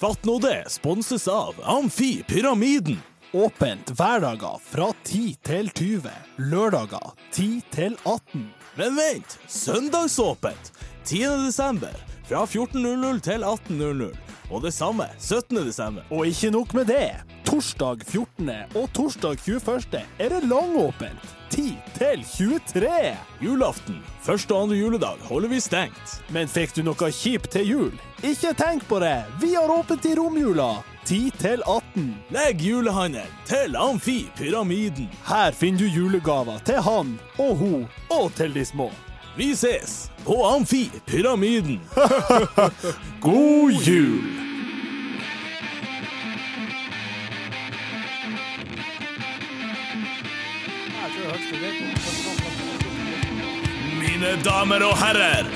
Fatt nå det sponses av Amfi Pyramiden. Åpent hverdager fra 10 til 20. Lørdager 10 til 18. Men vent, søndagsåpent 10. desember fra 14.00 til 18.00. Og det samme 17. desember. Og ikke nok med det. Torsdag 14. og torsdag 21. er det langåpent. 10 til 23. Julaften, første og andre juledag, holder vi stengt. Men fikk du noe kjipt til jul? Ikke tenk på det. Vi har åpent i romjula. 10 til 18. Legg julehandelen til Amfi Pyramiden. Her finner du julegaver til han og hun og til de små. Vi ses på Amfi Pyramiden. God jul! Mine damer og herrer,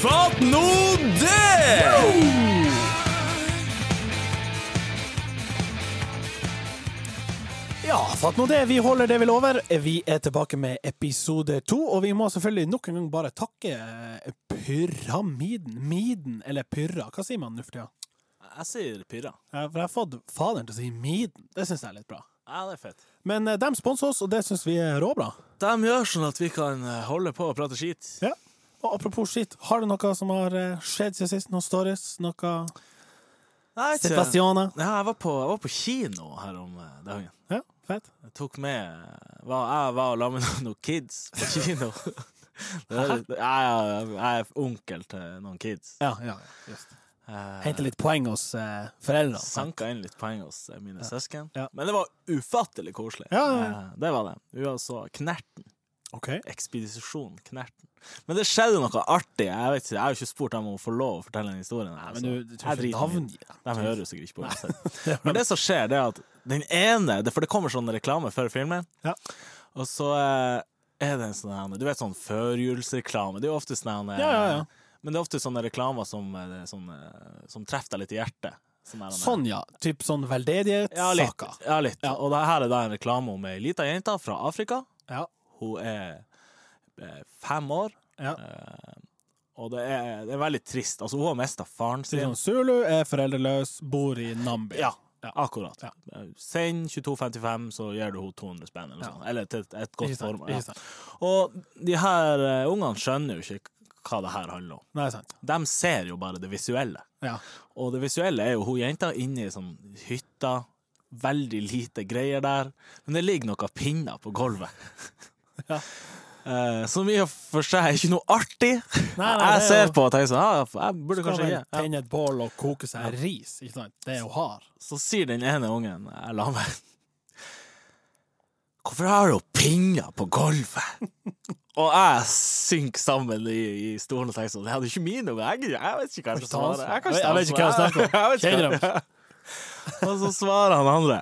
fatt nå det! Ja, fatt nå det. Vi holder det vi lover. Vi er tilbake med episode to, og vi må selvfølgelig nok en gang bare takke eh, Pyramiden. Miden, eller Pyrra. Hva sier man nå for tida? Jeg sier Pyra. Eh, For jeg har fått faderen til å si Miden. Det syns jeg er litt bra. Ja, det er fett. Men eh, de sponser oss, og det syns vi er råbra. De gjør sånn at vi kan eh, holde på å prate skit. Ja. Og apropos skitt, har du noe som har eh, skjedd siden sist? Noen stories? Noe Nei, ikke- Sebastiana? Ja, jeg var på, jeg var på kino her om eh, dagen. Ja, fett. Jeg tok med var, Jeg var og la med noen, noen kids på kino. Det er, jeg, jeg, jeg er onkel til noen kids. Ja, ja, just. Eh, Hente litt poeng hos eh, foreldrene. Sanka inn litt poeng hos eh, mine søsken. Ja. Men det var ufattelig koselig. Ja, ja, ja. Eh, Det var det. Vi var så Knerten. OK. Ekspedisjon Knerten. Men det skjedde noe artig. Jeg vet ikke, jeg har jo ikke spurt dem om å få lov å fortelle den historien. Altså, her, Men så du, du jeg tror ikke driter meg i navngi dem? De hører jo sikkert ikke på uansett. Men det som skjer, det er at den ene det- For det kommer sånn reklame før filmen, Ja. og så eh, er det en sånn her- Du vet sånn førjulsreklame. Det er jo ofte sånn her, Ja, ja, ja. Men det er ofte sånne reklamer som, eh, det er sånn, eh, som treffer deg litt i hjertet. Sånn, her- Sånn, ja. Typ sånn ja, litt. veldedighetssaker. Ja, litt. Og det her er da en reklame om ei lita jente fra Afrika. Ja. Hun er eh, fem år, ja. og det er, det er veldig trist. Altså, hun har mista faren Sier sin. sånn, Zulu er foreldreløs, bor i Nambi. Ja, akkurat. Send 22,55, så gir du henne 200 spenn, eller noe Ja. sånt. Eller til et, et godt Ikke sant, formål. Ja. ikke sant. Og de her eh, ungene skjønner jo ikke hva det her handler om. Nei, sant. De ser jo bare det visuelle. Ja. Og det visuelle er jo hun jenta inne i sånn hytta. Veldig lite greier der, men det ligger noen pinner på gulvet. Eh, Som i og for seg er ikke noe artig. Nei, nei, jeg det er ser jo- på og tenker sånn ah, Jeg burde Skal kanskje vel ikke ja. tenne et bål og koke seg ris, ikke sant? Det er jo hard. Så sier den ene ungen jeg la meg Hvorfor har hun pinner på gulvet? Og jeg synker sammen i, i stolen og tenker sånn Det er jo ikke mine unger. Jeg, jeg vet ikke hva jeg skal svare. Jeg, kan Jeg vet ikke hva jeg snakker om. Jeg vet ikke hva- Og så svarer han andre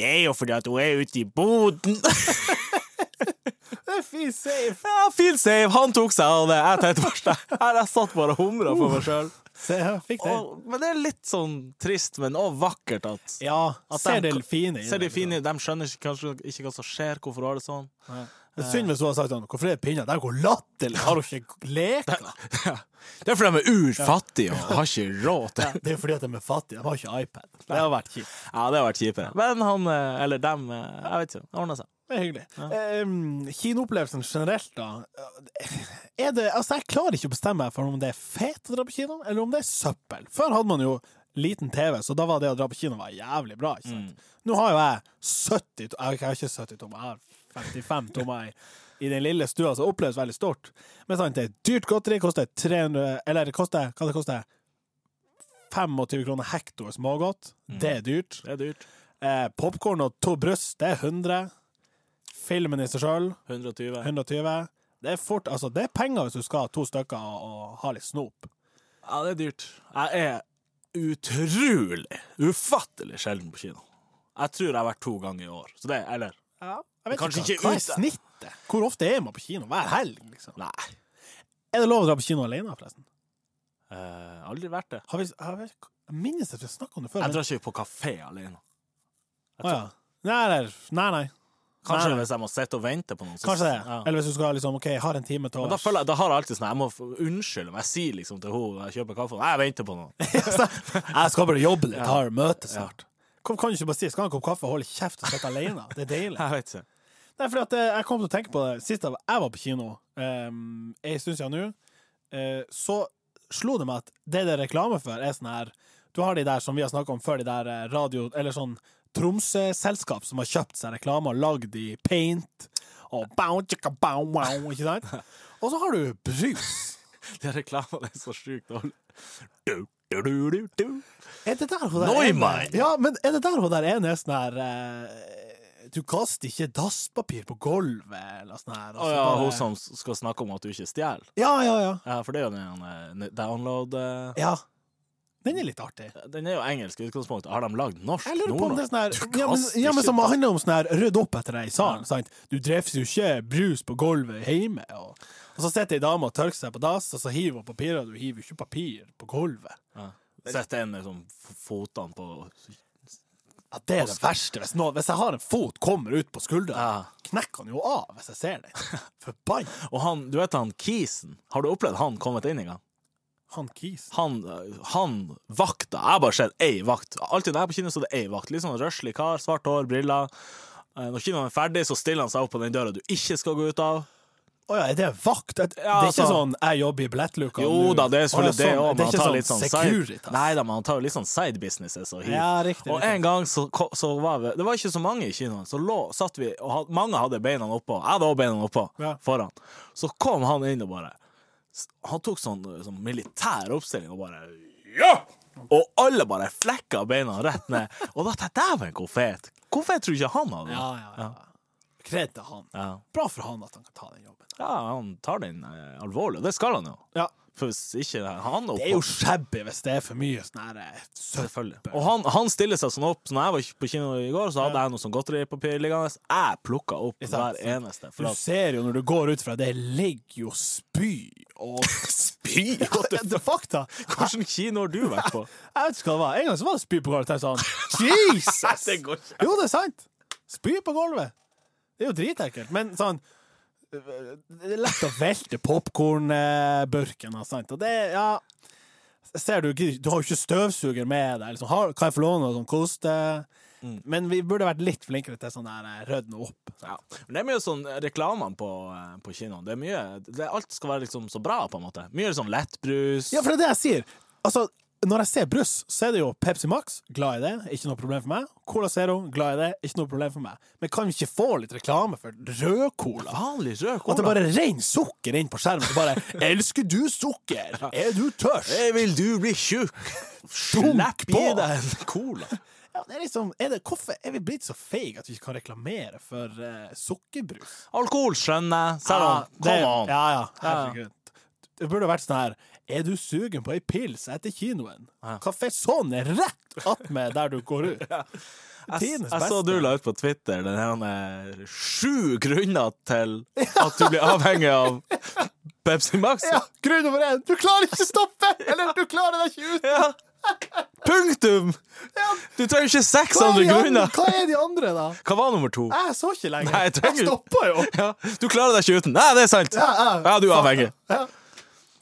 Det er jo fordi at hun er ute i boden. Det er fint safe! Ja, feel safe. Han tok seg av det. Jeg tenkte bare Her jeg satt bare og humra for meg sjøl. Se, jeg fikk Uh, det. Men det er litt sånn trist, men òg vakkert at Ja, At ser de- det fine i Ser de det, fine ut? De skjønner ikke, kanskje ikke hva som skjer, hvorfor har det sånn? liksom. Det er synd hvis hun har sagt sånn Hvorfor er det pinner? Der går latterlig! Har hun ikke leka? Det er fordi de er urfattige og har ikke råd til Det er jo fordi at de er fattige. De har ikke iPad. Det har vært kjipt. Ja, det har vært kjipere. Men han, eh, eller dem, eh, jeg vet ikke, det ordna seg. Det er hyggelig. Ehm, kinoopplevelsen generelt, da. Er det, altså, jeg klarer ikke å bestemme meg for om det er fet å dra på kino, eller om det er søppel. Før hadde man jo liten TV, så da var det å dra på kino var jævlig bra. Ikke sant? Nå har jo jeg 70 to- Jeg har ikke 70 tommer, jeg har 55 tommer i, i den lille stua, som oppleves veldig stort. Men sant, det er dyrt godteri, koster 300 Eller det koster, hva det koster 25 kroner hektor smågodt. Det er dyrt. Det er dyrt. Eh, Popkorn og to bryst, det er 100. Filmen i seg sjøl, 120. 120. Det er fort, altså det er penger hvis du skal ha to stykker og, og ha litt snop. Ja, det er dyrt. Jeg er utrolig, ufattelig sjelden på kino. Jeg tror jeg har vært to ganger i år. Så det, eller Jeg vet Kanskje hva- ikke hva ut- er snittet? Hvor ofte er man på kino? Hver helg, liksom. Nei. Er det lov å dra på kino alene, forresten? Eh, aldri vært det. Har vi, har vi, jeg minnes at vi snakka om det før. Jeg men- drar ikke på kafé alene. Å, ja. nei, nei, nei, nei. Kanskje Nei. hvis jeg må sitte og vente på noen. så- Kanskje det. Ja. Eller hvis du skal liksom, ok, jeg har en time til Men da, overs. føler jeg, da har jeg alltid sånn Jeg må f- unnskylde om jeg sier liksom til henne jeg kjøper kaffe. Nei, jeg venter på noe. Jeg skal bare jobbe litt, Ja. har møte snart. Hvorfor kan du ikke bare si 'skal ha en kopp kaffe', holde kjeft og sitte alene? Det er deilig. Jeg vet ikke. Nei, fordi at eh, jeg kom til å tenke på det Sist jeg var- jeg var på kino um, En stund siden nå eh, Så slo det meg at Det det er reklame for er sånn her Du har de der som vi har snakket om før De der eh, radio Eller sånn Tromsø-selskap som har kjøpt seg reklame Og lagd i paint Og bow, tjekka, bow, wow Ikke sant? Og så har du brus De reklamene er så sjukt dårlige. Du, du, du, du, du. Er det der hun der Neumann! ene- Ja, men er det der hun der ene er sånn her eh, Du kaster ikke dasspapir på gulvet Eller sånn her Å og så ja, bare- Altså, hun som s- skal snakke om at du ikke stjeler. Ja, ja, ja Ja, for det er jo den eh, download eh, Ja. Den er litt artig. Den er jo engelsk i utgangspunktet. Har de lagd norsk? Jeg lurer på om det er sånn her Du ja, men, kaster ja, men ikke som da- handler om sånn her rydd opp etter deg i Ja. salen, sant. Du drefser jo ikke brus på gulvet hjemme, og, og så sitter ei dame og tørker seg på dass, og så hiver hun papirer, og du hiver jo ikke papir på gulvet. ja. Sette en liksom f- fotene på Ja, det er det verste. Hvis, noen, hvis jeg har en fot kommer ut på skuldra, ja. knekker han jo av hvis jeg ser den. Forbanna! Og han, du vet han Kisen? Har du opplevd han kommet inn i gang? Han kis. han, han vakta Jeg har bare sett ei vakt. Alltid når jeg er på kino, så er det ei vakt. Litt sånn røslig kar, svart hår, briller. Eh, Når kinoen er ferdig, så stiller han seg opp på den døra du ikke skal gå ut av. Å ja, er det vakt? Det, det Ja, er ikke altså. sånn 'jeg jobber i billettluka'. Jo nå. da, det er Å ja, selvfølgelig det sånn. òg, men Det han er tar ikke litt sånn sånn side, Securitas. Nei da, men han tar jo litt sånn side businesses og hiv. Ja, riktig. Og riktig. en gang så, ko- så var vi Det var ikke så mange i kinoen, så lå, satt vi og had, Mange hadde beina oppå. Jeg hadde òg beina oppå Ja. foran. Så kom han inn og bare s- Han tok sånn, eh, sånn militær oppstilling og bare Ja! Og alle bare flekka beina rett ned. Og da tenkte jeg dæven, hvor fet. Hvor fet tror du ikke han hadde? Ja, ja, ja. Kred til han. ja. Bra for han at han kan ta den jobben. ja, han tar den eh, alvorlig, og det skal han jo. Ja, For hvis ikke han oppå Det er jo shabby hvis det er for mye sånn her eh, søppel. Selvfølgelig. Og han, han stiller seg sånn opp. Så når jeg var på kino i går, så hadde jeg noe sånn godteripapir liggende. Jeg plukka opp Ikke sant? hver eneste. Du For at ser jo når du går ut fra det, ligger jo spy og Spy! Det er fakta! Hvilken kino har du vært på? Jeg vet ikke hva det var. En gang så var det spy på gulvet. Jeg sånn Jesus! Det går ikke. Jo, det er sant! Spy på gulvet. Det er jo dritekkelt. Men sånn øh, Det er lett å velte popkornburken og sånt. Og det Ja. Ser du, gidder- du har jo ikke støvsuger med deg. Liksom. Har, kan jeg få låne noe som koster? Men vi burde vært litt flinkere til sånn der eh, rødne opp. Ja. Men det er mye sånn reklamene på, eh, på kinoen. Det er mye det, Alt skal være liksom så bra, på en måte. Mye sånn lettbrus. Ja, for det er det jeg sier. Altså, når jeg ser brus, så er det jo Pepsi Max, glad i det, ikke noe problem for meg. Cola Zero, glad i det, ikke noe problem for meg. Men kan vi ikke få litt reklame for rød cola? Vanlig rød At det cola. bare renner sukker inn på skjermen. Så bare 'Elsker du sukker? Er du tørst?' Hey, vil du bli tjukk? Slipp i på. deg en cola. Ja, det er liksom, er det, hvorfor er vi blitt så feige at vi ikke kan reklamere for eh, sukkerbrus? Alkohol skjønner jeg. Selv Ja, om Come on. Ja, ja. Herregud. Det burde vært sånn her 'Er du sugen på ei pils etter kinoen?' Ja. Café Son er rett attmed der du går ut. Jeg, Tidenes jeg så beste. du la ut på Twitter den her sju grunner til at du blir avhengig av Pepsi Max. Ja, grunn nummer én. Du klarer ikke stoppe! Eller du klarer deg ikke ut! Ja. Punktum! Du trenger ikke seks andre grunner. hva er de andre, da? Hva var nummer to? Jeg så ikke lenger. Nei, jeg trenger- jeg stoppa jo. Ja, du klarer deg ikke uten. Nei, det er sant! Ja, ja. Ja, du er avhengig. Ja.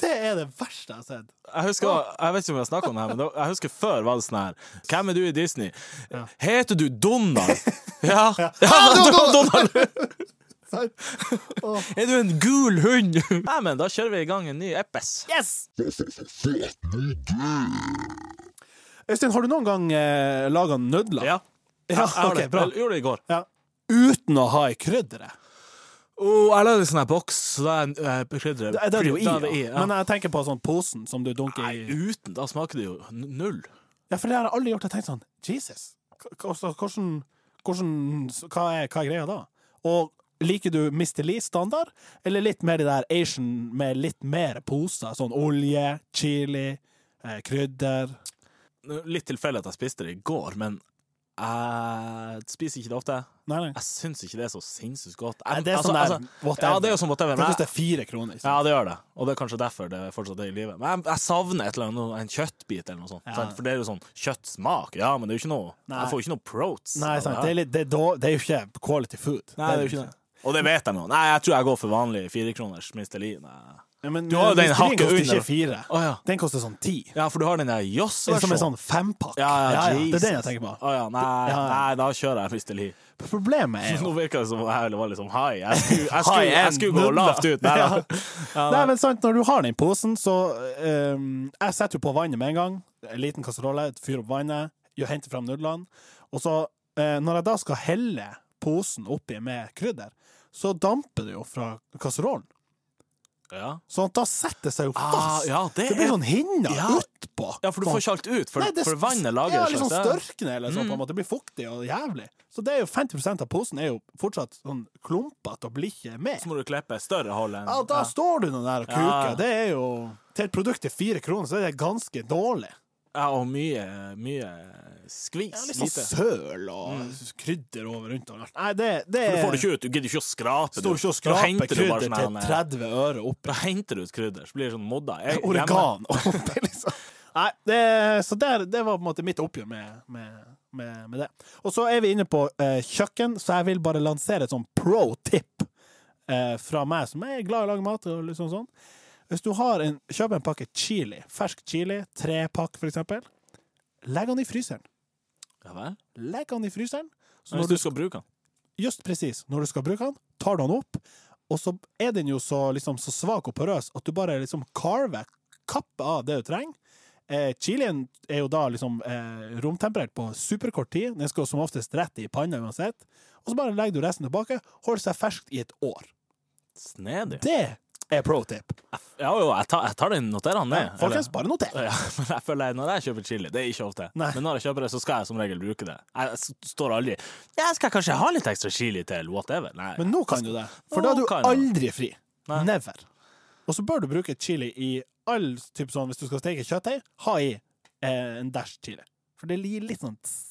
Det er det verste jeg har sett. Jeg husker, jeg vet ikke om jeg snakket om det her, men da- jeg husker før var det sånn her Hvem er du i Disney? Heter du Donald? Ja, ja, Ja, Ah, Don- Donald! Donald! Sant? Åh. Er du en gul hund? Nei, men da kjører vi i gang en ny Eppes. Yes! Øystein, har du noen gang eh, laga nødler? Ja. Ja, Jeg har ok, det. bra. Jeg gjorde det i går. Ja. Uten å ha i krydderet? Oh, jeg lagde en sånn her boks, så da er jeg bekrydder. Det er det jo i, Da ja. er det i, ja. men jeg tenker på sånn posen som du dunker i. Nei, uten, da smaker det jo n- null. Ja, for det har jeg aldri gjort. Jeg tenkte sånn Jesus, k- k- altså, hvordan, hvordan hva, er, hva er greia da? Og liker du Mr. Lee standard, eller litt mer de der Asian med litt mer poser? Sånn olje, chili, eh, krydder Litt tilfeldig at jeg spiste det i går, men Jeg spiser ikke det ofte. Nei, nei. Jeg syns ikke det er så sinnssykt godt. Nei, Jeg, altså, det er sånn der, whatever. ja, det er jo sånn whatever. men For jeg- det er fire kroner. Liksom. Ja, det gjør det. Og det er kanskje derfor det fortsatt er i live. Men jeg, jeg savner et eller annet, en kjøttbit eller noe sånt. Ja. sant? For det er jo sånn kjøttsmak, ja, men det er jo ikke noe Nei. Jeg får jo ikke noe proats. Nei, av sant. det Det, her. er litt, det, er dår- det er jo ikke quality food. Nei, det er jo ikke det. Og det vet de jo. Nei, jeg tror jeg går for vanlig firekroners Mistelin. Å Ja, men, Du har jo den Michelin hakket koster under. ikke fire. ja. Den koster sånn ti. ja, for du har den der Det er som en Joss-versjonen. sånn fempakk. Ja, ja, Det er den jeg Jesus. tenker på. Å ja, nei, Ja, ja. nei, da kjører jeg Mistelin. Problemet er jo Nå virker det som jeg var litt sånn high. Jeg skulle, jeg skulle, jeg skulle gå lavt ut. Nei, Ja. da. Nei, men sant, når du har den posen, så ehm, Jeg setter jo på vannet med en gang. En liten kasserolle, fyrer opp vannet, gjør- henter fram nudlene. Og så, eh, når jeg da skal helle posen oppi med krydder, så damper det jo fra kasserollen. Ja. Sånn at da setter det seg jo Ah, fast. ja, det det blir er- sånn hinner Ja. utpå. ja, for du Sånn. får ikke alt ut, for, Nei, det- for vannet lager Mm. Ja, et liksom slags- størkne eller sånn, på en måte. Det blir fuktig og jævlig. Så det er jo 50 av posen er jo fortsatt sånn klumpete og blir ikke med. Så må du klippe større hull enn Ja, da står du nå der og kuker. Ja. Det er jo Til et produkt til fire kroner, så er det ganske dårlig. Ja, og mye, mye skvis. Ja, Ja, Mm. litt sånn søl og krydder over rundt og alt. Nei, det, det For du får det er ikke ut. Du gidder ikke å skrape. Står ikke og Da skraper henter du bare krydder sånn til her- 30 øre opp. Da henter du ut krydder, så blir det sånn modda. Jeg- hjemme- Oregan oppi, liksom. Nei, det, så der, det var på en måte mitt oppgjør med, med, med, med det. Og så er vi inne på eh, kjøkken, så jeg vil bare lansere et sånn pro tip eh, fra meg, som er glad i å lage mat og liksom sånn. Hvis du har en, kjøper en pakke chili, fersk chili, trepakk for eksempel, legg den i fryseren. Ja vel? Legg den i fryseren. Så Men når hvis du skal bruke den. just presis, når du skal bruke den, tar du den opp, og så er den jo så, liksom, så svak og porøs at du bare liksom carver, kapper av det du trenger. Eh, chilien er jo da liksom eh, romtemperert på superkort tid, den skal som oftest rett i panna uansett, og så bare legger du resten tilbake, holder seg ferskt i et år. Snedig. Det er pro tip. Ja jo, jeg tar, jeg tar den, noterer den ned. Folkens, bare noter. Eller- Ja, men jeg føler jeg, når jeg kjøper chili, det er ikke ofte, Nei. men når jeg kjøper det, så skal jeg som regel bruke det. Jeg s- står aldri Jeg skal kanskje ha litt ekstra chili til whatever. Nei. Men nå kan du det, for da er Nå du kan jeg aldri fri. Nei. Never. Og så bør du bruke chili i all typ sånn, hvis du skal steke kjøttdeig, ha i eh, en dash chili. For det gir litt sånn tss.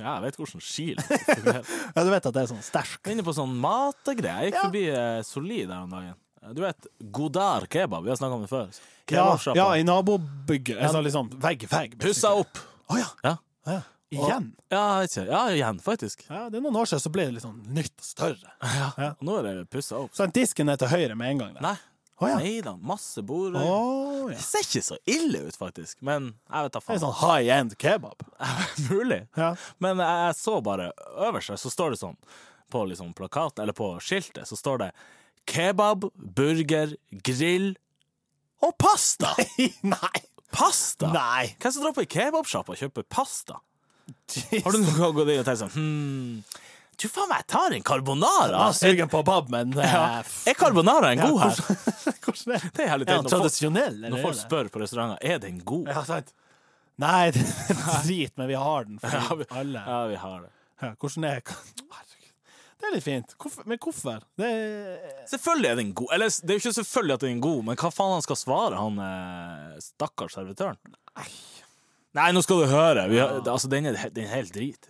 Ja, jeg vet hvordan chili fungerer. Ja, du vet at det er sånn stæsj. Jeg er inne på sånn matgreier. Jeg gikk Ja. forbi eh, Solid her om dagen. Eh, Du vet Godar kebab, vi har snakka om det før. Ja, Kebabsjappa. ja, i nabobygget. Altså liksom vegg i vegg. Pussa opp. Å ja. Ja. Å ja. Igjen. Ja, jeg vet ikke. ja, igjen, faktisk. Ja, det er noen år siden så ble det litt sånn nytt og større. Og nå er det pussa opp. Så den disken er til høyre med en gang. der. Nei. Å ja. Nei da, masse bord. Å Det ja. ser ikke så ille ut, faktisk. Men jeg vet da Det faen. er sånn high end kebab. Mulig. Ja. Men jeg så bare øverst her, så står det sånn på liksom plakaten, eller på skiltet, så står det kebab, burger, grill og pasta. Nei. Pasta! Nei. Hvem som drar på ei kebabsjappe og kjøper pasta? Har du noen gang gått inn og tenkt sånn hmm, Du, faen meg, jeg tar en carbonara. Jeg er sugen på bab, men eh, Ja. Er carbonara en god her? Hvordan er Det er herlig teit. Er han Når, folk- tradisjonell, eller? når folk er det? spør på restauranter er den god, Ja, sant. Nei, det er drit, men vi har den for Ja, vi- alle. ja, vi har det. Ja, hvordan er Herregud. Det er litt fint. Hvorfor? Men hvorfor? Det er... Selvfølgelig er den god. Eller det er jo ikke selvfølgelig at den er god, men hva faen han skal svare, han eh, stakkars servitøren? Nei, nå skal du høre. Vi har, altså, den er, den er helt drit.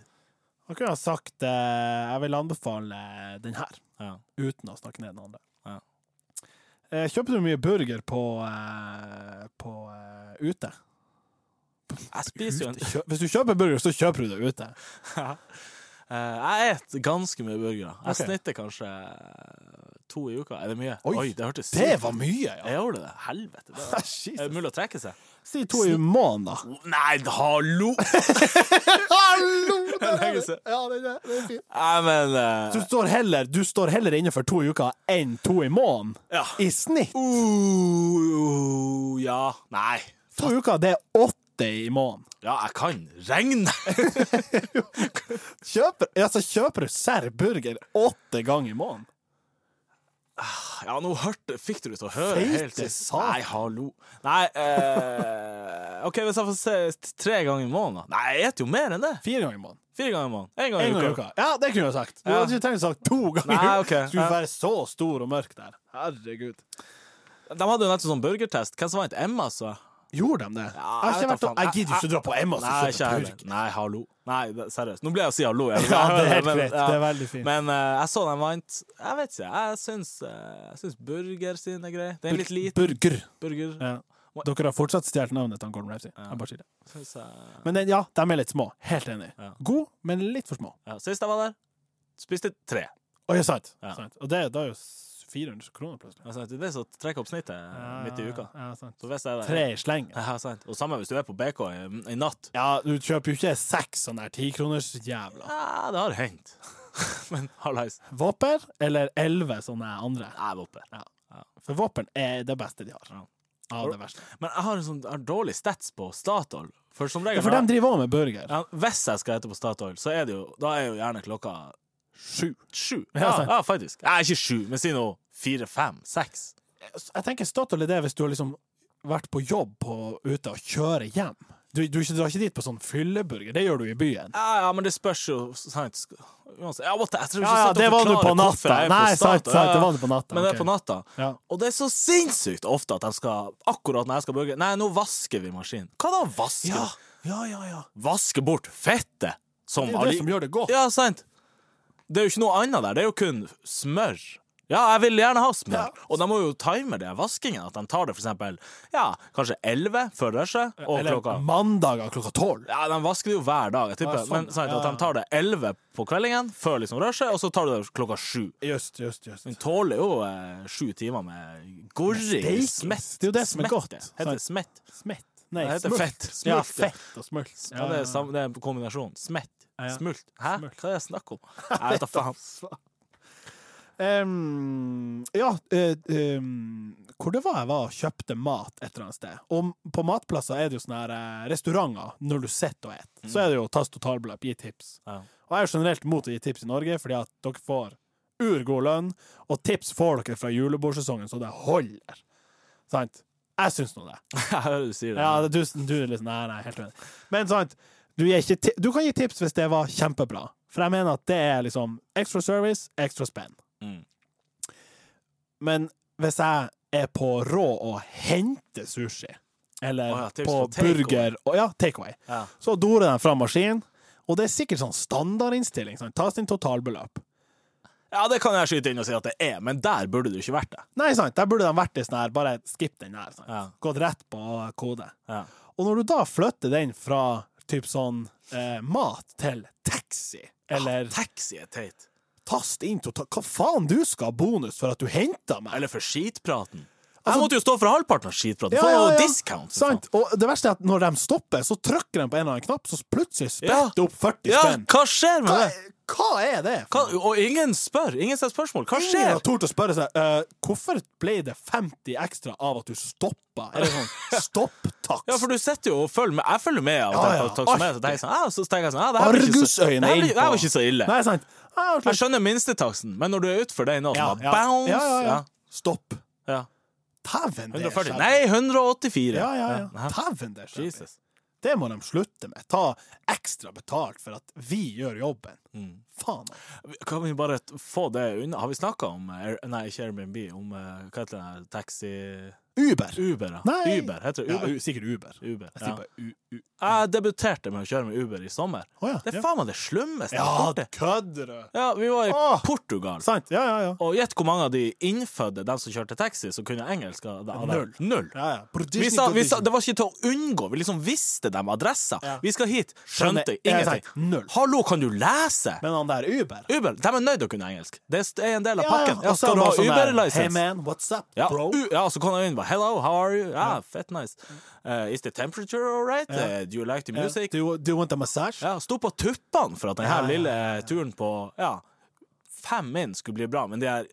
Han kunne ha sagt eh, Jeg vil anbefale den her, Ja. uten å snakke ned den andre. Ja. Eh, kjøper du mye burger på, eh, på eh, ute? Jeg spiser jo en Ute? Kjø- Hvis du kjøper burger, så kjøper du det ute. Eh, Jeg spiser ganske mye burgere. Jeg Ok. snitter kanskje eh, to i uka. Er det mye? Oi, det hørtes Det sykt ut. var mye, ja! Jeg gjorde det. Helvete. Det var. Jesus. Er det mulig å trekke seg? Si to i måneden, da. Nei, hallo! Hallo! er lenge siden. Ja, det er, det er fint. Nei, men eh, Du står heller, du står heller inne for to uker enn to i måneden. Ja. I snitt. Uh, ja. Nei. To uker, det er åtte i måneden. Ja, jeg kan regne. Kjøper, altså, kjøper du serr burger åtte ganger i måneden? Ja, nå hørte, fikk du det til å høre Feite helt til sak. Nei, hallo. Nei eh, OK, hvis jeg får se t- tre ganger i måneden, da. Nei, jeg spiser jo mer enn det. Fire ganger i måneden. Fire ganger i måneden. Én gang i En gang i uka. uka. Ja, det kunne du ha sagt. Du Ja. hadde ikke tenkt å sagt to ganger. i Nei, uka. ok. Ja. Skulle være så stor og mørk der. Herregud. De hadde jo nettopp sånn burgertest. Hvem som vant? Emma, så jeg. Gjorde de det? Ja, jeg, har jeg ikke vet da vært, faen. jeg gidder ikke dra på Emmas Nei, og ikke jeg kjøpe purk. heller. Nei, hallo. Nei, det, seriøst. Nå ble jeg å si hallo. Jeg, Ja, det er helt men- greit. ja. Det er veldig fint. Men eh, jeg så den vant. Jeg vet ikke. Jeg syns, eh, jeg syns Burger sin er grei. Den er litt liten. Burger. Burger. Ja. Dere har fortsatt stjålet navnet til Gordon Ramsay. Jeg bare sier det. Syns jeg Men den, ja, de er litt små. Helt enig. Ja. God, men litt for små. ja. Sist jeg var der, spiste tre. Å, ja, sant. Ja. sant. Og det, da er jo s- 400 kroner plutselig. Altså, det er det som trekker opp snittet eh, midt i uka. Ja, sant. Så hvis jeg er der Ah. Tre i sleng. Ja, sant. Og samme hvis du er på BK i, i natt. Ja, du kjøper jo ikke seks sånne her tikroners jævla. Ja, det har hendt. Men hallais. Våper eller elleve sånne her andre. Jeg er oppe. Ja. For våpen er det beste de har. Ja. Av det verste. Men jeg har en sånn jeg har dårlig stats på Statoil. For som Ja, regel for de driver òg med burger. Ja, hvis jeg skal ete på Statoil, så er det jo Da er jo gjerne klokka Sju. sju. Ja, Ja, sant. ja faktisk. Nei, ikke sju, men si nå fire, fem, seks. Jeg tenker Statoil er det hvis du har liksom vært på jobb på, ute og kjører hjem. Du, du drar ikke dit på sånn fylleburger, det gjør du i byen. Ja, ja, men det spørs jo sant. sk- Uansett. Ja, what the- jeg tror ikke Ja, ja, jeg satt og det var nå forklarte på hvorfor natta. jeg er på Nei, sant, Statoil. sant, Ja, det ja. var nå på natta. Men det er ok. på natta. Ja. Og det er så sinnssykt ofte at de skal Akkurat når jeg skal burge Nei, nå vasker vi maskinen. Hva da vasker? Ja, du? ja, ja, ja. Vaske bort fettet. Som Det er jo det som gjør det godt. Ja, sant. Det er jo ikke noe annet der. Det er jo kun smør. Ja, jeg vil gjerne ha smør. Og de må jo time det, vaskingen. At de tar det for eksempel ja, kanskje 11 før rushet, og Eller klokka mandager klokka tolv. ja, De vasker det jo hver dag, jeg tipper. Ja, sånn. Men sant, Ja, at ja. de tar det 11 på kveldingen, før liksom rushet, og så tar du det klokka 7. Just, just, just. Den tåler jo eh, sju timer med gorring. Steik. Smett. Det er jo det som er godt. Heter det smett? Smett. Nei, Det heter smult. fett. Smult, Ja, ja. fett og smult. Ja, det, er sam, det er en kombinasjon. Smett. Ja, ja. Smult. Hæ? Smult. Hva er det jeg snakker om? Jeg vet da faen. Ehm, ja, eh, ehm, hvor det var jeg var og kjøpte mat et eller annet sted. Og på matplasser er det jo sånne her eh, restauranter når du sitter og et Mm. Så er det jo tas totalbeløp, gi tips. Ja. Og jeg er jo generelt mot å gi tips i Norge, fordi at dere får urgod lønn, og tips får dere fra julebordsesongen, så det holder. Sant? Jeg syns nå det. Jeg hører du sier det. Ja, du, du er litt sånn Nei, nei, helt enig. Men sant, du, gir ikke ti du kan gi tips hvis det var kjempebra. For jeg mener at det er liksom extra service, extra spenn. Mm. Men hvis jeg er på rå og henter sushi, eller Å ja, tips på, på takeaway. burger og, Ja, takeaway. Ja. Så dorer de fram maskinen, og det er sikkert sånn standardinnstilling. Sånn, ta sin totalbeløp. Ja, det kan jeg skyte inn og si at det er, men der burde du ikke vært det. Nei, sant, der burde de vært i sånn her, bare skip den der. Sant? Ja. Gått rett på kode. Ja. Og når du da flytter den fra typ sånn eh, mat til taxi, eller Ah, Taxi er teit. tast inn total... Hva faen du skal ha bonus for at du henter meg? Eller for skitpraten. jeg måtte jo stå for halvparten av skitpraten. Altså- Ja, Få ja, ja. discount. for Sant. Og det verste er at når de stopper, så trykker de på en eller annen knapp, så plutselig Ja. spretter det opp 40 faen. Ja, spenn. hva skjer med Hva, det? hva er det? Hva, og ingen spør. Ingen stiller spørsmål. Hva Ingen skjer? har tort å spørre seg eh, hvorfor ble det 50 ekstra av at du stoppa? Er det sånn stopptaks? Ja, for du sitter jo og følger med. Jeg følger med. av Ja, og til ja, på taksometeret, så tenker jeg sånn, ja, Så tenker jeg sånn ja, det her blir ikke så- Argusøyne det her inn blir- på Det her var ikke så ille. Nei, sant. Ah, klart. Jeg skjønner minstetaksten, men når du er utfor det nå, så Ja, bare ja. bounce. Ja, ja, ja. Ja, Stopp. ja. Dæven, det er 140. skjebne. Nei, 184. Ja, ja, ja. Hæ? Dæven, det er skjebne. Jesus. Det må de slutte med. Ta ekstra betalt for at vi gjør jobben. Mm. Faen. Kan vi bare t- få det unna? Har vi snakka om Air, Nei, ikke Airbnb. Om eh, hva heter det der taxi Uber. Uber, ja. Nei. Uber, heter det Ja, Uber? u sikkert Uber. Uber, Jeg ja. sier bare u... u Jeg debuterte med å kjøre med Uber i sommer. Å ja, Det ja. er faen meg det slummeste jeg har ja, gjort. det. kødder du? Ja, vi var i Åh. Portugal. Sant. Ja, ja, ja. Og gjett hvor mange av de innfødte, de som kjørte taxi, som kunne engelsk? av- av dem? Null. Null. ja, ja. Production, Vi sa, vi sa, production. det var ikke til å unngå. Vi liksom visste dem adressa. Ja. Vi skal hit. Skjønte Ja, sant. ingenting. Null. Hallo, kan du lese? Men han der Uber Uber, de er nødt til å kunne engelsk. Det er en del av pakken. Ja, Og så skal du ha bare sånn der, Hey Uber-lisens? man, what's up, Ja, bro? u- ja, så kom jeg inn bare Hello, how are you? Ja, fett nice. Eh, is the temperature all right? Eh, do you like the Ja. music? Do, you- do you want a massage? Ja, Sto på tuppene for at denne Ja, ja, lille turen på ja, fem inn skulle bli bra, men de er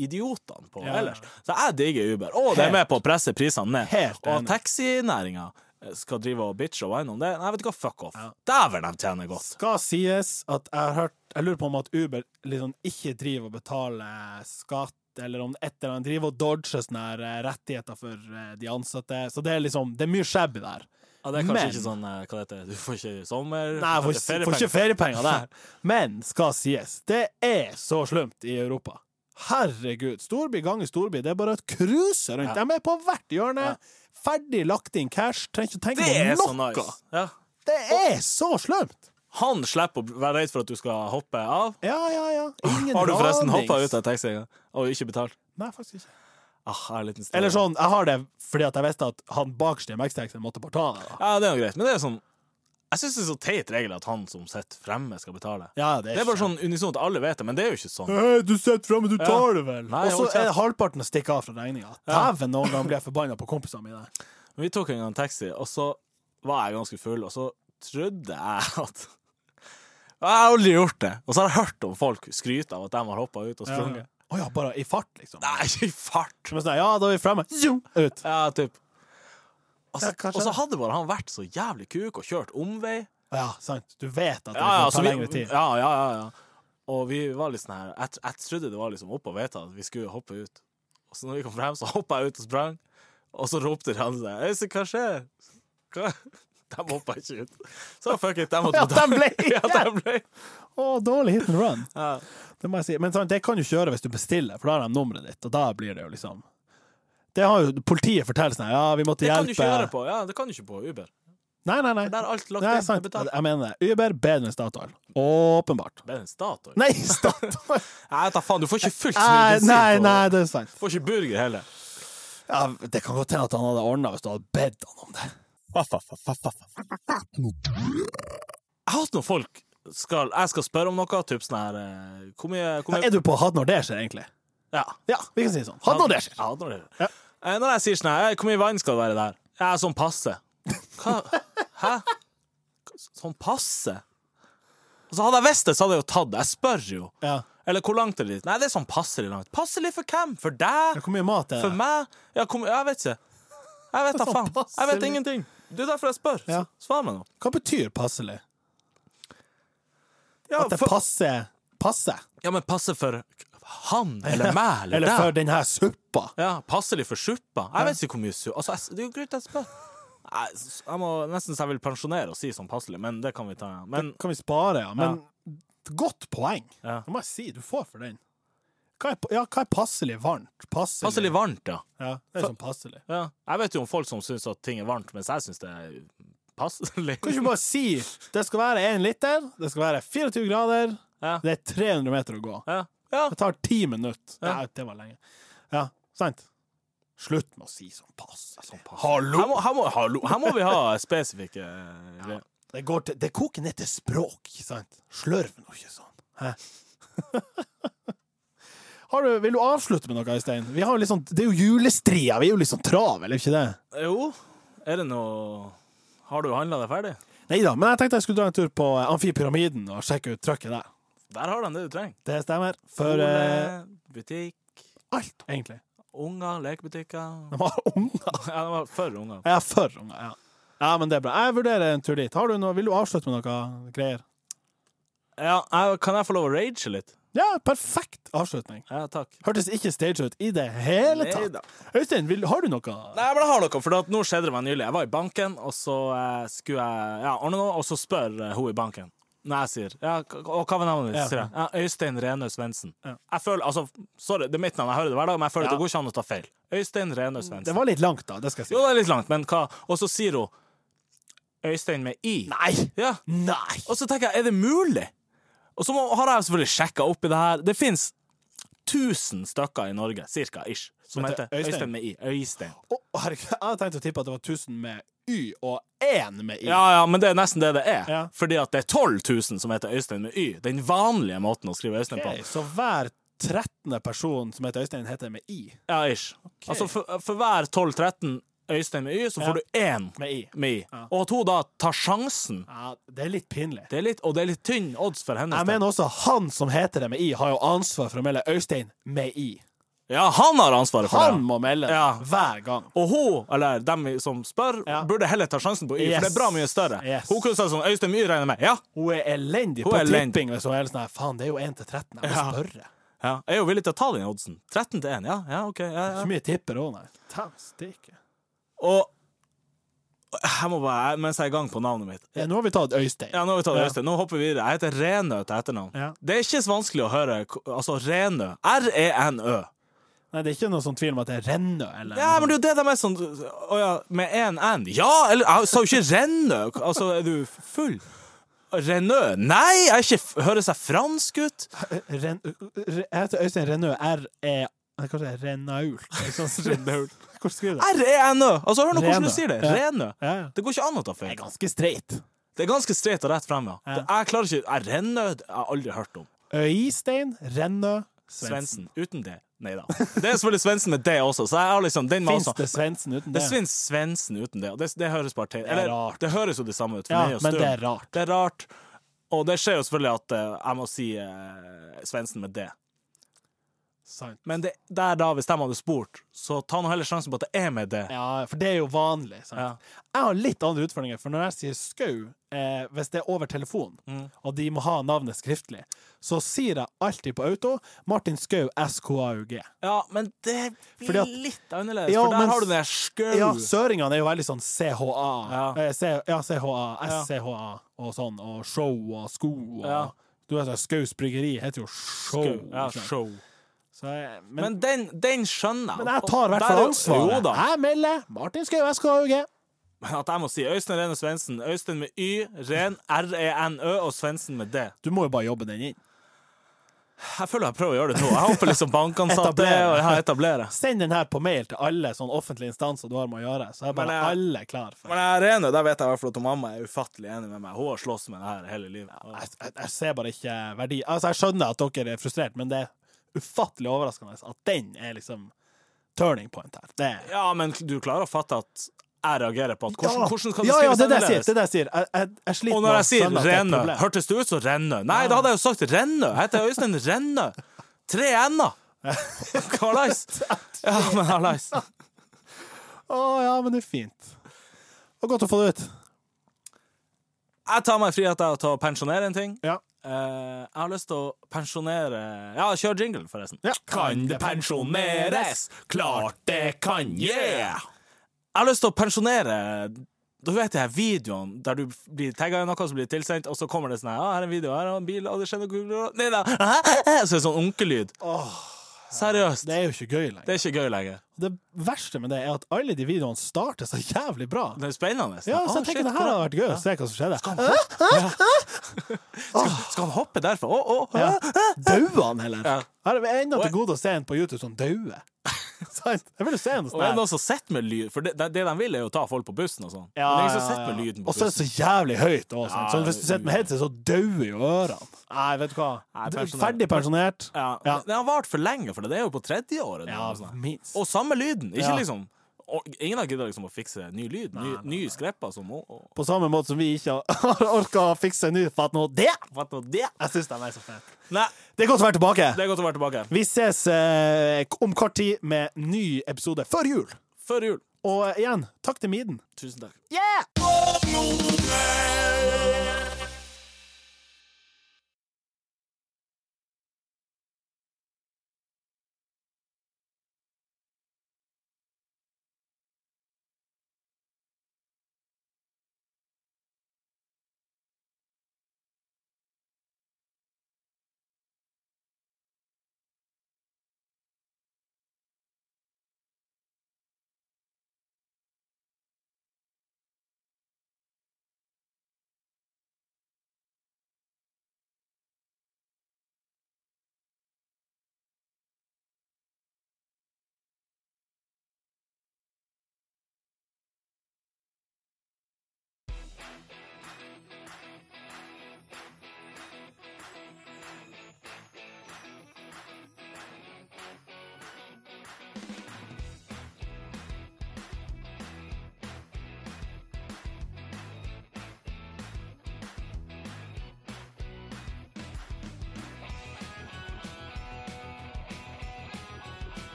idiotene på Ja, ja. ellers. Så jeg digger Uber, og det er med på å presse prisene ned. Helt og enig. taxinæringa skal drive og bitche og whine om det. Nei, vet du hva, fuck off. Dæven, de tjener godt. Skal sies at jeg har hørt Jeg lurer på om at Uber liksom ikke driver og betaler skatt, eller om et eller annet driver og dodger sånne her eh, rettigheter for eh, de ansatte. Så det er liksom Det er mye skjebb i det her. Ja, det er kanskje Men- ikke sånn eh, Hva det heter Du får ikke sommer... Nei, jeg får, du ikke- får ikke feriepenger der. Men skal sies, det er så slumt i Europa. Herregud. Storby ganger storby. Det er bare et cruise rundt. Ja. De er på hvert hjørne. Ferdig lagt inn cash. Trenger ikke tenke Det er på så noe. nice. Ja. Det er så slømt! Han slipper å være redd for at du skal hoppe av. Ja, ja, ja. Ingen Har du forresten ranings. hoppa ut av taxien og ikke betalt? Nei, faktisk ikke. Ah, jeg er en liten stille. Eller sånn, jeg har det fordi at jeg visste at han bakerst i MX-taxien måtte bare ta det. da. Ja, det er jo greit, men det er sånn Jeg syns det er så teit regel at han som sitter fremme, skal betale. Ja, det Det er bare sånn unisont, alle vet det, men det er jo ikke sånn. Hei, du sitter framme, du Ja. tar det vel! Nei, Og så hold er kjeft. halvparten å stikke av fra regninga. Dæven, noen ganger blir jeg forbanna på kompisene mine. Men vi tok en gang taxi, og så var jeg ganske full, og så trodde jeg at Jeg har aldri gjort det. Og så har jeg hørt om folk skryte av at de har hoppa ut og Å ja. sprunget. bare i fart, liksom. Nei, ikke i fart! Som er sånn, ja, da er vi fremme. Zoom, Ut. Ja, typ. Og så, Ja, kanskje og så det. hadde bare han vært så jævlig kuk og kjørt omvei. Ja, sant. Du vet at det Ja, ja, kan så ta vi, lengre tid. ja, ja, ja, ja. Og vi var litt sånn her Jeg, jeg trodde det var liksom opp og vedta at vi skulle hoppe ut. Og så når vi kom frem, så hoppa jeg ut og sprang, og så ropte de andre Øystein, hva skjer? Hva? De hoppa ikke ut. Så fuck it, de måtte Ja, de ble Ja, de ble. Å, dårlig hit and run. Ja. Det må jeg si. Men sant, det kan du ikke gjøre hvis du bestiller, for da har de nummeret ditt, og da blir det jo liksom Det har jo politiet fortalt sånn, ja, vi måtte Det kan du hjelpe ikke gjøre på ja, det kan du ikke på Uber. Nei, nei, nei. Der er alt lagt Nei, inn. sant. det er betalt. Jeg mener det. Uber bedre enn Statoil. Åpenbart. Bedre enn Statoil. Nei, Statoil! Nei, ta faen, du får ikke fullt så mye nei, bensin nei, på- nei, det er sant. Får ikke burger heller. Ja, det kan godt hende at han hadde ordna hvis du hadde bedt han om det. Jeg hater når folk skal Jeg skal spørre om noe, typ sånn her eh, Hvor mye, hvor mye Er du på hatt når det skjer, egentlig? Ja. Ja, vi kan si det sånn. Hatt når det skjer. Ja, når det skjer. Ja. Eh, Når jeg sier sånn her, «Eh, hvor mye vann skal det være der? Ja, sånn passe. Hva? Hæ? Sånn passe? Og så hadde jeg visst det, så hadde jeg jo tatt det. Jeg spør jo. Ja. Eller hvor langt er det dit? Nei, det er sånn passelig langt. Passelig for hvem? For deg? Hvor mye mat er For det? meg? Ja, hvor mye- jeg vet ikke. Jeg vet da Sånn faen. Jeg vet passelig. ingenting. Det er derfor jeg spør. Ja. S- Svar meg nå. Hva betyr passelig? Ja, At det for- passer passe? ja, men passe for han eller meg eller, Eller deg. for denne suppa? Ja, passelig for suppa. Jeg vet ikke hvor mye suppa altså, jeg, Det er jo greit jeg spør. Nei, s- Jeg må nesten så jeg vil pensjonere og si sånn passelig, men det kan vi ta. ja. Men Kan vi spare, ja. Men godt poeng. Ja. Det må jeg si. Du får for den. Hva er, ja, hva er passelig varmt? Passelig, passelig varmt, ja. Ja, det er sånn passelig. ja. Jeg vet jo om folk som syns at ting er varmt, mens jeg syns det er passelig. Kan ikke du bare si det skal være én liter, det skal være 24 grader, Ja. det er 300 meter å gå. Ja. ja. Det tar ti minutter. Ja. Ja. det var lenge. Ja, sant? Slutt med å si sånn pass. Her Hallo! må, her, må, hallo. her må vi ha spesifikke eh, greier. Det, går til, det koker ned til språk, ikke sant? Slørv nå ikke sånn. Hæ? Har du, vil du avslutte med noe, Øystein? Vi har jo litt sånn, det er jo julestria, vi er jo litt sånn travel, er vi ikke det? Jo, er det noe Har du handla deg ferdig? Nei da, men jeg tenkte jeg skulle dra en tur på eh, Amfipyramiden og sjekke ut trøkket der. Der har de det du trenger. Det stemmer. For eh, Skole, butikk, alt, egentlig. unger, lekebutikker. De har unger. Ja, det var for unger. Jeg er for unger, ja. Ja, men det er bra. Jeg vurderer en tur dit. Har du noe, vil du avslutte med noe greier? Ja, jeg, kan jeg få lov å rage litt? Ja, perfekt avslutning. Ja, takk. Hørtes ikke stage ut i det hele tatt. Neida. Øystein, vil, har du noe? Nei, men jeg har noe, for at nå skjedde det meg nylig. Jeg var i banken, og så eh, skulle jeg ja, ordne noe, og så spør eh, hun i banken. Når jeg sier ja, k- Og hva var navnet ditt? Ja. sier jeg. Ja, Øystein Rene Svendsen. Ja. Jeg føler, altså, sorry, det er mitt navn, jeg hører det hver dag, men jeg føler Ja. det går ikke an å ta feil. Øystein Rene Det Svendsen. var litt langt, da. Det skal jeg si. Jo, det er litt langt, men hva Og så sier hun Øystein med i. Nei! Ja. Nei! Og så tenker jeg, er det mulig? Og så må, har jeg selvfølgelig sjekka opp i det her. Det fins 1000 stykker i Norge, cirka, ish, som Vent, heter Øystein? Øystein med i. Øystein. Å, herregud, jeg hadde tenkt å tippe at det var 1000 med Y og én med I. Ja, ja, men det er nesten det det er. Ja. Fordi at det er 12 000 som heter Øystein med Y. Den vanlige måten å skrive Øystein Ok, på. Så hver 13. person som heter Øystein, heter med I. Ja, ish. Altså for, for hver 12-13 Øystein med Y, så får du én Med I. med Y. Ja. Og at hun da tar sjansen, Ja, det er litt pinlig. det er litt, og det er litt tynn odds for hennes Jeg del. mener også han som heter det med I, har jo ansvar for å melde Øystein med I. Ja, han har ansvaret for Han det. må melde det Ja. hver gang. Og hun, eller dem som spør, Ja. burde heller ta sjansen på Y, Yes. for det er bra mye større. Yes. Hun kunne sagt sånn Øystein med Y regner med. Ja. Hun er elendig Hun på er elendig. tipping. Hvis hun er helt sånn her, faen, det er jo 1 til 13. Jeg må Ja. spørre. ja. Jeg er jo villig til å ta den oddsen. 13 til 1. Ja, ja, OK. Ja, ja. Ikke mye tipper òg, nei. Ta stikke. Og jeg må bare, mens jeg er i gang på navnet mitt Ja, nå har vi tatt Øystein. Ja, nå, har vi tatt Ja. Øystein. nå hopper vi videre. Jeg heter Renø til etternavn. Ja. E Det er ikke så vanskelig å høre. k- Altså, Renø. R-e-n-ø. Nei, det er ikke noe sånn tvil om at det renner, eller Ja, men det er jo det de er sånn Å ja, med én N. Ja, eller Jeg sa jo ikke renne. Altså, er du full? Rennø? Nei, jeg er ikke f- Høres jeg fransk ut? Ren, jeg heter Øystein Renø. R-e... Nei, Kanskje det er Renault? sånn Renault. Hvor skriver du det? R-E-N-Ø. Altså, hør nå hvordan Renø. du sier det. Ja. Renø. Ja, ja. Det går ikke an å ta Det er feil. ganske streit. Det er ganske streit og rett frem, ja. Ja. Det- Jeg klarer ikke Jeg Renø det har jeg aldri hørt om. Øystein Renø Svendsen. Svendsen. Uten det. Nei da. Det er selvfølgelig Svendsen med det også, så jeg har liksom den med Fins også. det Svendsen uten Det det? finnes Svendsen uten det, og det, det høres bare til. er Eller, rart. det høres jo det samme ut. For Ja, meg og men det Støm. er rart. Det er rart. Og det skjer jo selvfølgelig at eh, jeg må si eh, Svendsen med det. Sant. Men det, der da, hvis de hadde spurt, så ta nå heller sjansen på at det er med det. Ja, for det er jo vanlig. Sant? Ja. Jeg har litt andre utfordringer, for når jeg sier skau, eh, hvis det er over telefon, Mm. og de må ha navnet skriftlig, så sier jeg alltid på auto Martin Skau SKAUG. Ja, men det blir Fordi at- litt annerledes, Ja, for der men- har du den der skau. Ja, søringene er jo veldig sånn CHA. Ja. Eh, C, ja, CHA, SCHA og sånn, og show og sko og Ja. Du vet, Skaus bryggeri heter jo show. Skau. Ja, ikke sant? show. Så jeg, men, men, Men den, den skjønner jeg. jeg Og tar i hvert der er fall jo- ansvaret. Jo da. Jeg melder Martin Skau SKAUG. Men at jeg må si Øystein Rene Svendsen. Øystein med Y, Ren, R-E-N-Ø og Svendsen med D. Du må jo bare jobbe den inn. Jeg føler jeg prøver å gjøre det nå. Jeg håper liksom bankansatte Etablere. og jeg etablerer. Send den her på mail til alle sånn offentlige instanser du har med å gjøre, så er bare Men jeg- alle klar for Men jeg er enig, der vet jeg i hvert fall at mamma er ufattelig enig med meg. Hun har slåss med det her hele livet. jeg, jeg, jeg ser bare ikke verdi Altså, jeg skjønner at dere er frustrert, men det er ufattelig overraskende at den er liksom turning point her. Det er Ja, men du klarer å fatte at jeg reagerer på at hvordan, hvordan kan det ja, skrives ja, det er det jeg sier. annerledes? Det er det jeg sier. Jeg, jeg, jeg sliter Og med når å jeg sier skjønne at det er et Rennø, problem. hørtes det ut som Rennø? Nei, da hadde jeg jo sagt Rennø. Jeg heter Øystein Rennø. Tre n-er. Hallais. Ja, men hallais. Å ja, men det er fint. Og godt å få det ut. Jeg tar meg frihet av til å pensjonere en ting. Ja. Eh, jeg har lyst til å pensjonere Ja, kjør jingle, forresten. Ja. Kan det pensjoneres? Klart det kan, yeah! Jeg har lyst til å pensjonere Du vet de her videoene der du blir tagga i noe, så blir det tilsendt, og så kommer det sånn her, ah, 'Her er en video, her er en bil, og det skjer noe Nei da! Så er det sånn onkelyd. Seriøst. Det er jo ikke gøy Det lenger. er ikke gøy lenger. Det verste med det er at alle de videoene starter så jævlig bra. Det er spennende. Ja, Ah, så jeg shit, tenker det her hvordan- hadde vært gøy å se hva som skjedde. Skal han hoppe derfra? Å, å, å. Ja. Daua han, heller? Ja. Her er vi ennå til gode å se en på YouTube som daue. Sant? Jeg vil jo se en Og er det sånn her. noen som sitter med lyd? For det, det de vil, er jo å ta folk på bussen og sånn. Men det Ja, er ingen ja, som sitter med ja. lyden på Og så er bussen. det så jævlig høyt òg. Ja, Sånn, hvis du sitter med headset, så dauer jo ørene. Nei, vet du hva. Nei, Du- pensjonert. Ferdig pensjonert. Ja. Ja. Den har vart for lenge, for det er jo på tredje året. nå, Ja, og sånn. minst. og samme lyden. Ikke Ja. liksom og Ingen har giddet liksom å fikse ny lyd. Ny, nye altså, skrepper som å- å- På samme måte som vi ikke har orka å fikse en ny fatt nå. Det! Fatt nå det! Jeg syns de er så fete. Nei, Det er godt å være tilbake. det er godt å være tilbake. Vi ses eh, om kort tid med ny episode før jul. Før jul. Og eh, igjen, takk til Miden. Tusen takk. Yeah!